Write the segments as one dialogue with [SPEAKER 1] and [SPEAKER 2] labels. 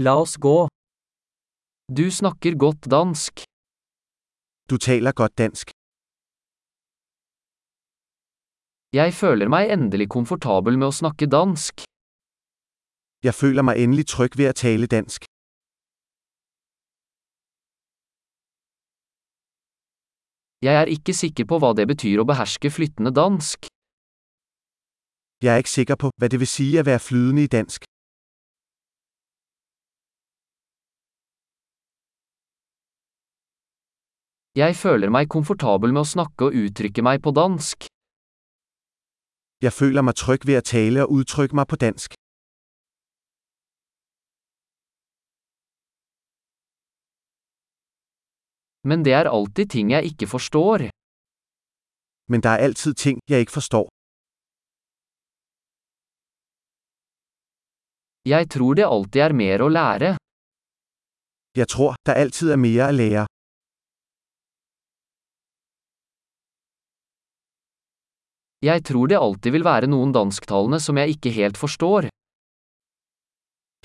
[SPEAKER 1] La oss gå. Du snakker godt dansk.
[SPEAKER 2] Du taler godt dansk.
[SPEAKER 1] Jeg føler meg endelig komfortabel med å snakke dansk.
[SPEAKER 2] Jeg føler meg endelig trygg ved å tale dansk.
[SPEAKER 1] Jeg er ikke sikker på hva det betyr å beherske flyttende dansk.
[SPEAKER 2] Jeg er ikke sikker på hva det vil si å være flytende i dansk.
[SPEAKER 1] Jeg føler meg komfortabel med å snakke og uttrykke meg på dansk.
[SPEAKER 2] Jeg føler meg trygg ved å tale og uttrykke meg på dansk.
[SPEAKER 1] Men det er alltid ting jeg ikke forstår.
[SPEAKER 2] Men der er alltid ting jeg ikke forstår.
[SPEAKER 1] Jeg tror det alltid er mer å lære.
[SPEAKER 2] Jeg tror der alltid er mer å lære.
[SPEAKER 1] Jeg tror det alltid vil være noen dansktalende som jeg ikke helt forstår.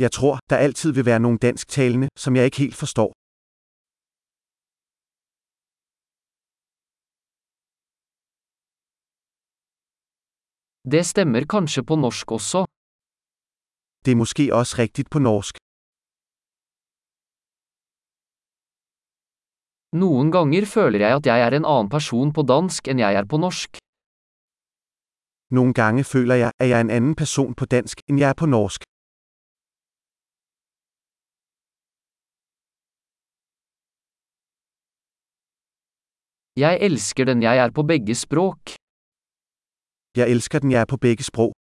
[SPEAKER 2] Jeg tror der alltid vil være noen dansktalende som jeg ikke helt forstår.
[SPEAKER 1] Det stemmer kanskje på norsk også.
[SPEAKER 2] Det er måske også riktig på norsk.
[SPEAKER 1] Noen ganger føler jeg at jeg er en annen person på dansk enn jeg er på norsk.
[SPEAKER 2] Nogle gange føler jeg, at jeg er en anden person på dansk, end jeg er på norsk.
[SPEAKER 1] Jeg elsker den jeg er på begge språk.
[SPEAKER 2] Jeg elsker den jeg er på begge sprog.